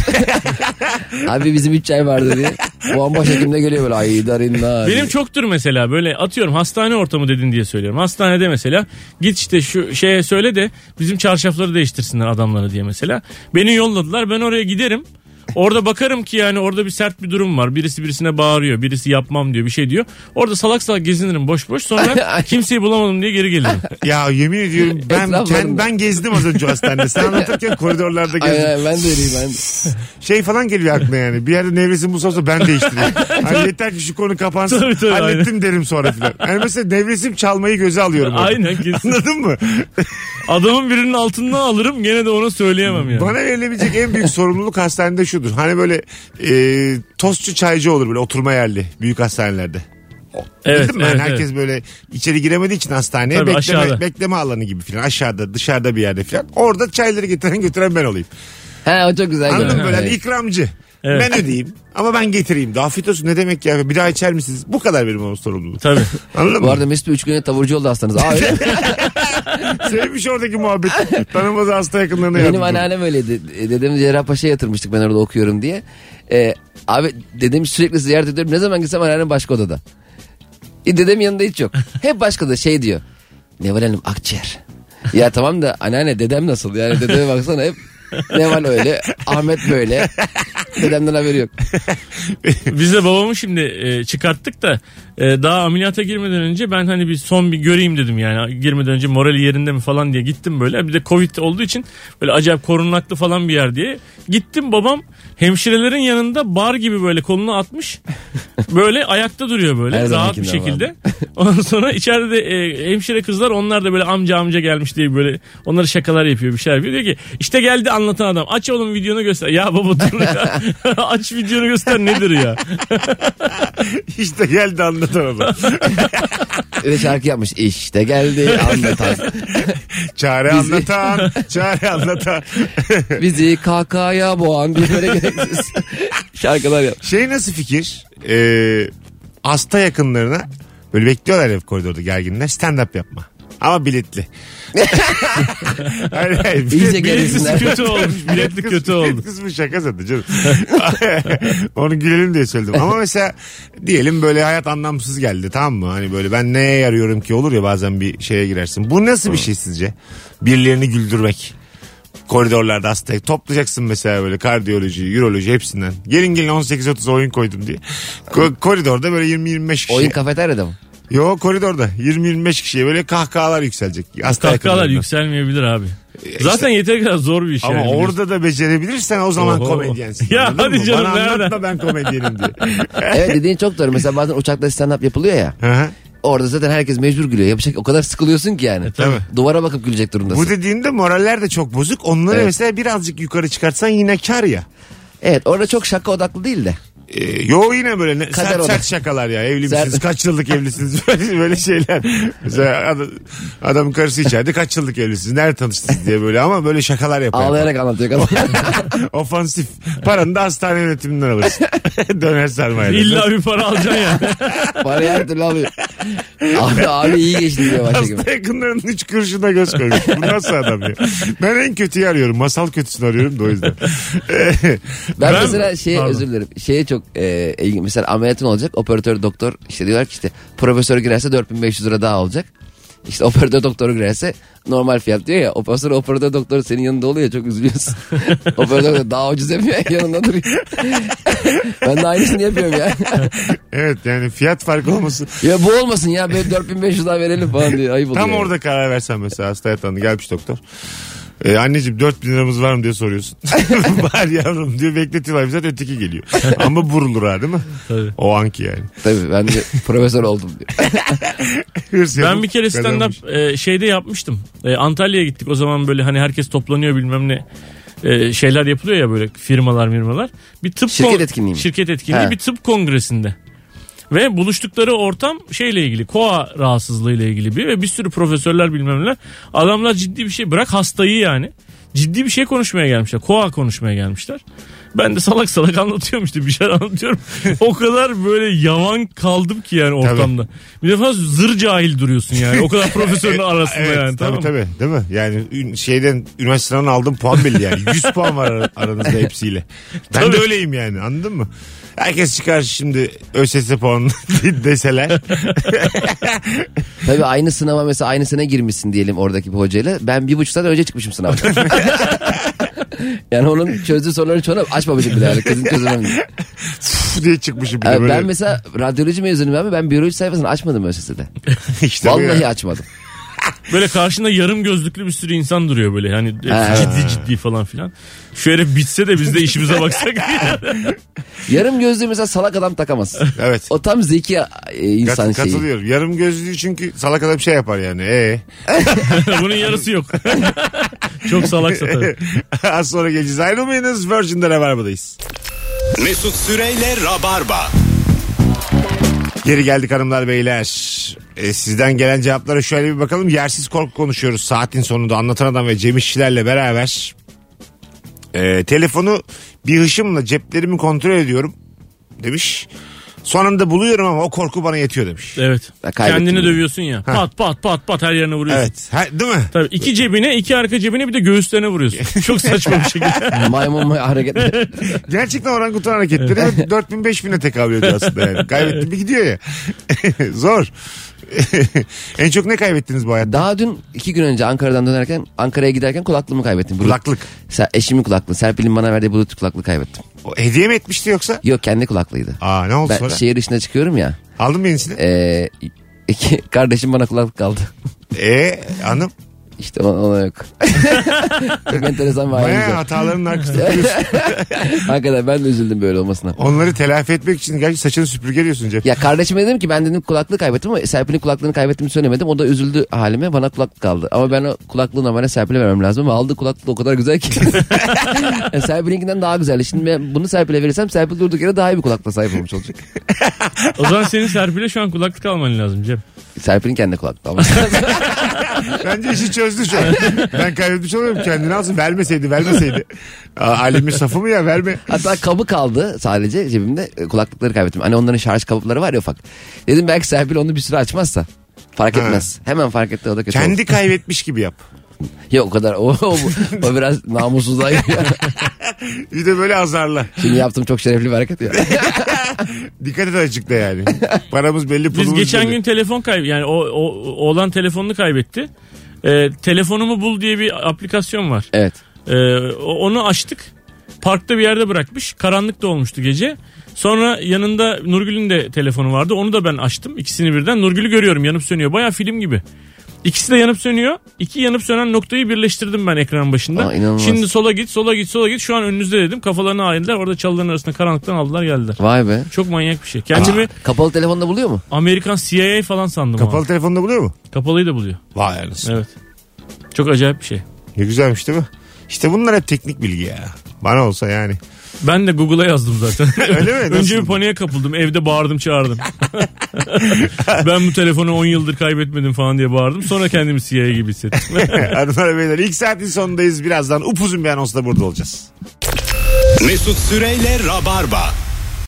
Speaker 4: Abi bizim 3 çay vardı diye. Bu an başhekimle geliyor böyle ay darinlar.
Speaker 3: Benim çoktur mesela böyle atıyorum hastane ortamı dedin diye söylüyorum. Hastanede mesela git işte şu şeye söyle de bizim çarşafları değiştirsinler adamları diye mesela. Beni yolladılar ben oraya giderim. Orada bakarım ki yani orada bir sert bir durum var. Birisi birisine bağırıyor. Birisi yapmam diyor bir şey diyor. Orada salak salak gezinirim boş boş. Sonra kimseyi bulamadım diye geri gelirim.
Speaker 2: Ya yemin ediyorum ben
Speaker 4: Etraflarında.
Speaker 2: kend, ben gezdim az önce hastanede. Sen anlatırken koridorlarda
Speaker 4: Ay,
Speaker 2: gezdim.
Speaker 4: ay, ben de öyleyim ben de.
Speaker 2: Şey falan geliyor aklına yani. Bir yerde nevresim bulsa olsa ben değiştireyim. Hani yeter ki şu konu kapansın.
Speaker 3: Tabii, tabii,
Speaker 2: hallettim derim sonra filan. Yani mesela nevresim çalmayı göze alıyorum. orada.
Speaker 3: Aynen kesin.
Speaker 2: Anladın mı?
Speaker 3: Adamın birinin altından alırım gene de ona söyleyemem yani.
Speaker 2: Bana verilebilecek en büyük sorumluluk hastanede şudur. Hani böyle e, tostçu çaycı olur böyle oturma yerli büyük hastanelerde.
Speaker 3: Evet,
Speaker 2: Bildin mi?
Speaker 3: evet,
Speaker 2: Yani herkes böyle içeri giremediği için hastaneye
Speaker 3: Tabii,
Speaker 2: bekleme,
Speaker 3: aşağıda.
Speaker 2: bekleme alanı gibi filan. Aşağıda dışarıda bir yerde filan. Orada çayları getiren götüren ben olayım.
Speaker 4: He o çok güzel.
Speaker 2: Anladın
Speaker 4: görünüyor.
Speaker 2: mı? Böyle hani
Speaker 4: Evet.
Speaker 2: ikramcı.
Speaker 3: Evet.
Speaker 2: Ben ödeyeyim ama ben getireyim. Daha afiyet olsun ne demek ya bir daha içer misiniz? Bu kadar benim onun sorumluluğum.
Speaker 3: Tabii.
Speaker 2: Anladın
Speaker 4: Bu
Speaker 2: mı?
Speaker 4: arada Mesut 3 güne tavurcu oldu hastanız. Aa, öyle mi?
Speaker 2: Sevmiş oradaki muhabbet. Tanımadığı hasta yakınlarına
Speaker 4: Benim
Speaker 2: yardımcı.
Speaker 4: anneannem öyleydi. E, Dedemi Cerrahpaşa'ya yatırmıştık ben orada okuyorum diye. E, abi dedemi sürekli ziyaret ediyorum. Ne zaman gitsem anneannem başka odada. E, dedem yanında hiç yok. Hep başka da şey diyor. Neval Hanım akciğer. Ya tamam da anneanne dedem nasıl? Yani dedeme baksana hep Neval öyle, Ahmet böyle. Dedemden haberi yok.
Speaker 3: Biz de babamı şimdi e, çıkarttık da e, daha ameliyata girmeden önce ben hani bir son bir göreyim dedim yani girmeden önce morali yerinde mi falan diye gittim böyle. Bir de Covid olduğu için böyle acayip korunaklı falan bir yer diye. Gittim babam hemşirelerin yanında bar gibi böyle kolunu atmış. Böyle ayakta duruyor böyle
Speaker 4: Her
Speaker 3: rahat bir
Speaker 4: zamankinden
Speaker 3: şekilde. Ondan sonra içeride de e, hemşire kızlar onlar da böyle amca amca gelmiş diye böyle onlara şakalar yapıyor bir şeyler yapıyor. Diyor ki işte geldi anlatan adam aç oğlum videonu göster. Ya baba dur ya. aç videonu göster nedir ya.
Speaker 2: İşte geldi anlatamadım.
Speaker 4: Ve şarkı yapmış. İşte geldi anlatan.
Speaker 2: Çare
Speaker 4: Bizi-
Speaker 2: anlatan. Çare anlatan.
Speaker 4: Bizi kakaya boğan diye böyle gereksiz şarkılar yap.
Speaker 2: Şey nasıl fikir? Ee, hasta yakınlarına böyle bekliyorlar hep koridorda gerginler. Stand up yapma. Ama biletli. hayır, hayır.
Speaker 4: İyice
Speaker 2: Bilet-
Speaker 4: gerilsinler.
Speaker 3: kötü olmuş. Biletli
Speaker 2: Kız-
Speaker 3: kötü oldu.
Speaker 2: Kız bu şaka zaten canım. Onu gülelim diye söyledim. Ama mesela diyelim böyle hayat anlamsız geldi tamam mı? Hani böyle ben neye yarıyorum ki olur ya bazen bir şeye girersin. Bu nasıl bir şey sizce? Birilerini güldürmek. Koridorlarda hasta toplayacaksın mesela böyle kardiyoloji, üroloji hepsinden. Gelin gelin 18-30 oyun koydum diye. Ko- koridorda böyle 20-25 kişi.
Speaker 4: Oyun kafeteryada mı?
Speaker 2: Yo koridorda 20-25 kişiye böyle kahkahalar yükselecek. Hasta
Speaker 3: Kahkahalar
Speaker 2: yakınlarından.
Speaker 3: yükselmeyebilir abi. Zaten yeteri kadar zor bir iş
Speaker 2: E, Ama
Speaker 3: yani.
Speaker 2: orada da becerebilirsen o zaman
Speaker 3: Oho.
Speaker 2: komedyensin.
Speaker 3: Ya
Speaker 2: anladın
Speaker 3: hadi
Speaker 2: mı?
Speaker 3: canım,
Speaker 2: Bana
Speaker 3: nereden?
Speaker 2: anlatma ben komedyenim diye.
Speaker 4: Evet dediğin çok doğru. Mesela bazen uçakta stand-up yapılıyor ya.
Speaker 2: Hı hı.
Speaker 4: Orada zaten herkes mecbur gülüyor. Yapacak o kadar sıkılıyorsun ki yani.
Speaker 2: E, tabii.
Speaker 4: Duvara bakıp gülecek durumdasın.
Speaker 2: Bu dediğinde moraller de çok bozuk. Onları
Speaker 4: Evet.
Speaker 2: mesela birazcık yukarı çıkartsan yine kar ya.
Speaker 4: Evet orada çok şaka odaklı değil de.
Speaker 2: Ee, yo yine böyle ne,
Speaker 4: Kader
Speaker 2: sert,
Speaker 4: o da.
Speaker 2: sert şakalar ya. Evli
Speaker 4: Sert.
Speaker 2: misiniz? Kaç yıllık evlisiniz? böyle, böyle şeyler. Mesela adam, adamın karısı içeride kaç yıllık evlisiniz? Nerede tanıştınız diye böyle ama böyle şakalar yapar.
Speaker 4: Ağlayarak anlatıyor. kadın.
Speaker 2: Ofansif. Paranı da hastane yönetiminden alırsın. Döner sermaye.
Speaker 3: İlla bir para alacaksın ya.
Speaker 4: Parayı her türlü alıyor. Abi, abi iyi geçti diyor başka
Speaker 2: Hasta yakınlarının üç kuruşuna göz koymuş. Bu nasıl adam ya? Ben en kötüyü arıyorum. Masal kötüsünü arıyorum da o yüzden.
Speaker 4: Ben,
Speaker 3: Ben-
Speaker 4: mesela şeye
Speaker 3: Pardon.
Speaker 4: özür dilerim. Şeye çok e, ilgim- mesela ameliyatın olacak. Operatör doktor işte diyorlar ki işte profesör girerse 4500 lira daha olacak. İşte operatör doktoru girerse normal fiyat diyor ya. Operatör operatör doktor senin yanında oluyor çok üzülüyorsun. operatör doktor daha ucuz yapıyor yanında duruyor. ben de aynısını yapıyorum ya.
Speaker 2: evet yani fiyat farkı olması.
Speaker 4: ya bu olmasın ya böyle 4500 daha verelim falan diye ayıp oluyor.
Speaker 2: Tam
Speaker 4: yani.
Speaker 2: orada karar versen mesela hasta yatağında gelmiş doktor. Ee, anneciğim 4000 liramız var mı diye soruyorsun. var yavrum diyor bekletiyorlar. Zaten öteki geliyor. Ama burulur ha değil mi?
Speaker 3: Tabii.
Speaker 2: O anki yani.
Speaker 4: Tabii ben de profesör oldum diyor.
Speaker 2: Hırs
Speaker 3: Ben
Speaker 2: yapıp
Speaker 3: bir kere
Speaker 2: kazanmış.
Speaker 3: stand-up e, şeyde yapmıştım. E, Antalya'ya gittik o zaman böyle hani herkes toplanıyor bilmem ne e, şeyler yapılıyor ya böyle firmalar firmalar. Bir tıp
Speaker 4: Şirket etkinliği mi?
Speaker 3: Şirket etkinliği
Speaker 4: He.
Speaker 3: bir tıp kongresinde. Ve buluştukları ortam şeyle ilgili koa rahatsızlığı ile ilgili bir ve bir sürü profesörler bilmem neler. Adamlar ciddi bir şey bırak hastayı yani. Ciddi bir şey konuşmaya gelmişler. Koa konuşmaya gelmişler. Ben de salak salak anlatıyorum işte bir şeyler anlatıyorum. o kadar böyle yavan kaldım ki yani ortamda. Bir defa zır cahil duruyorsun yani. O kadar profesörün arasında
Speaker 2: Evet,
Speaker 3: yani
Speaker 2: tabii
Speaker 3: tamam mı?
Speaker 2: tabii değil mi? Yani ün- şeyden üniversite sınavına aldığım puan belli yani. 100 puan var ar- aranızda hepsiyle. Ben de
Speaker 3: Tabii.
Speaker 2: öyleyim yani anladın mı? Herkes çıkar şimdi ÖSS puanını deseler.
Speaker 4: Tabii aynı sınava mesela aynı sene girmişsin diyelim oradaki bir hocayla. Ben bir buçuk saat önce çıkmışım sınavdan. yani onun çözdüğü soruların çoğunu açmamışım bile. Yani kızın çözümünü.
Speaker 2: pf diye çıkmışım bir de
Speaker 4: Yani
Speaker 2: böyle.
Speaker 4: ben mesela radyoloji mezunuyum abi. Ben biyoloji sayfasını açmadım ÖSS'de.
Speaker 2: İşte bu
Speaker 4: Vallahi
Speaker 2: E, ya.
Speaker 4: açmadım.
Speaker 3: Böyle karşında yarım gözlüklü bir sürü insan duruyor böyle. Hani hepsi
Speaker 4: Ha.
Speaker 3: ciddi ciddi falan filan. Şu herif bitse de biz de işimize baksak.
Speaker 4: Yarım gözlüğü mesela salak adam takamaz.
Speaker 2: Evet.
Speaker 4: O tam zeki e,
Speaker 2: Kat-
Speaker 4: insan şeyi.
Speaker 2: katılıyorum. Yarım gözlüğü çünkü salak adam şey yapar yani. Ee?
Speaker 3: Bunun yarısı yok. Çok salaksa tabii.
Speaker 2: Az sonra geleceğiz. Ayrılmayınız. Virgin'de Rabarba'dayız.
Speaker 1: Mesut Süreyle Rabarba.
Speaker 2: Geri geldik hanımlar beyler. E, sizden gelen cevaplara şöyle bir bakalım. Yersiz korku konuşuyoruz saatin sonunda. Anlatan Adam ve Cem İşçilerle beraber. E, telefonu bir hışımla ceplerimi kontrol ediyorum demiş. Sonunda buluyorum ama o korku bana yetiyor demiş.
Speaker 3: Evet.
Speaker 4: Ya kaybettim
Speaker 3: Kendini
Speaker 4: bunu.
Speaker 3: dövüyorsun ya. Pat pat pat pat her yerine vuruyorsun.
Speaker 2: Evet. Ha, değil mi?
Speaker 3: Tabii iki cebine, iki arka cebine bir de göğüslerine vuruyorsun. Çok saçma bir şekilde.
Speaker 4: Maymun may- hareketleri.
Speaker 2: Gerçekten orangutan hareketleri 4000 5000'e tekabül ediyor aslında yani. Kaybettim bir gidiyor ya. Zor. en çok ne kaybettiniz bu hayatta?
Speaker 4: Daha dün iki gün önce Ankara'dan dönerken Ankara'ya giderken kulaklığımı kaybettim. Bluetooth-
Speaker 2: Kulaklık.
Speaker 4: Se- eşimin kulaklığı. Serpil'in bana verdiği bluetooth kulaklığı kaybettim.
Speaker 2: O hediye mi etmişti yoksa?
Speaker 4: Yok kendi kulaklığıydı.
Speaker 2: Aa ne oldu
Speaker 4: Ben şey-
Speaker 2: sonra?
Speaker 4: şehir dışına çıkıyorum ya.
Speaker 2: Aldın mı yenisini?
Speaker 4: Ee, iki, kardeşim bana kulaklık kaldı.
Speaker 2: E hanım?
Speaker 4: İşte ona, ona yok. Çok enteresan bir ailemiz
Speaker 2: Baya
Speaker 4: var.
Speaker 2: hatalarının arkasında duruyorsun.
Speaker 4: Hakikaten ben de üzüldüm böyle olmasına.
Speaker 2: Onları telafi etmek için gerçi saçını süpürgeliyorsun Cem.
Speaker 4: Ya kardeşime dedim ki ben dedim kulaklığı kaybettim ama Serpil'in kulaklığını kaybettiğimi söylemedim. O da üzüldü halime bana kulaklık kaldı. Ama ben o kulaklığı normalde Serpil'e vermem lazım ama aldığı kulaklık o kadar güzel ki. Ya Serpil'inkinden daha güzel. Şimdi ben bunu Serpil'e verirsem Serpil durduk yere daha iyi bir kulaklığa sahip olmuş olacak.
Speaker 3: O zaman senin Serpil'e şu an kulaklık alman lazım Cem.
Speaker 4: Serpil'in kendi kulaklığı alması lazım.
Speaker 2: Bence işi çözdü şu an. Ben kaybetmiş oluyorum kendini alsın. Vermeseydi vermeseydi. Aa, Alimin safı mı ya verme.
Speaker 4: Hatta kabı kaldı sadece cebimde. E, Kulaklıkları kaybettim. Hani onların şarj kabukları var ya ufak. Dedim belki Serpil onu bir süre açmazsa. Fark
Speaker 2: Ha.
Speaker 4: etmez. Hemen fark etti o da kötü oldu.
Speaker 2: Kendi kaybetmiş gibi yap.
Speaker 4: Yok o kadar. O, o, o biraz namussuzluğa giriyor.
Speaker 2: Bir de böyle azarla.
Speaker 4: Şimdi yaptım çok şerefli bir hareket ya.
Speaker 2: Dikkat et azıcık da yani. Paramız belli pulumuz
Speaker 3: Biz geçen
Speaker 2: belli.
Speaker 3: gün telefon kayb yani o, o oğlan telefonunu kaybetti. Ee, telefonumu bul diye bir aplikasyon var.
Speaker 4: Evet.
Speaker 3: Ee, o- onu açtık. Parkta bir yerde bırakmış. Karanlık da olmuştu gece. Sonra yanında Nurgül'ün de telefonu vardı. Onu da ben açtım. İkisini birden. Nurgül'ü görüyorum yanıp sönüyor. Baya film gibi. İkisi de yanıp sönüyor. İki yanıp sönen noktayı birleştirdim ben ekran başında.
Speaker 4: Aa, inanılmaz.
Speaker 3: Şimdi sola git, sola git, sola git. Şu an önünüzde dedim. Kafalarını ayırdılar. Orada çalıların arasında karanlıktan aldılar geldiler.
Speaker 4: Vay be.
Speaker 3: Çok manyak bir şey. Kendimi
Speaker 4: Kapalı telefonda buluyor mu?
Speaker 3: Amerikan CIA falan sandım. Kapalı.
Speaker 2: Kapalı telefonda buluyor mu?
Speaker 3: Kapalıyı da buluyor.
Speaker 2: Vay anasını.
Speaker 3: Evet. Çok acayip bir şey.
Speaker 2: Ne güzelmiş değil mi? İşte bunlar hep teknik bilgi ya. Bana olsa yani.
Speaker 3: Ben de Google'a yazdım zaten.
Speaker 2: Öyle mi?
Speaker 3: Önce
Speaker 2: Nasıl?
Speaker 3: bir paniğe kapıldım. Evde bağırdım çağırdım. ben bu telefonu 10 yıldır kaybetmedim falan diye bağırdım. Sonra kendimi CIA gibi hissettim.
Speaker 2: Hanımlar beyler ilk saatin sonundayız. Birazdan upuzun bir anonsla burada olacağız.
Speaker 1: Mesut Süreyle Rabarba.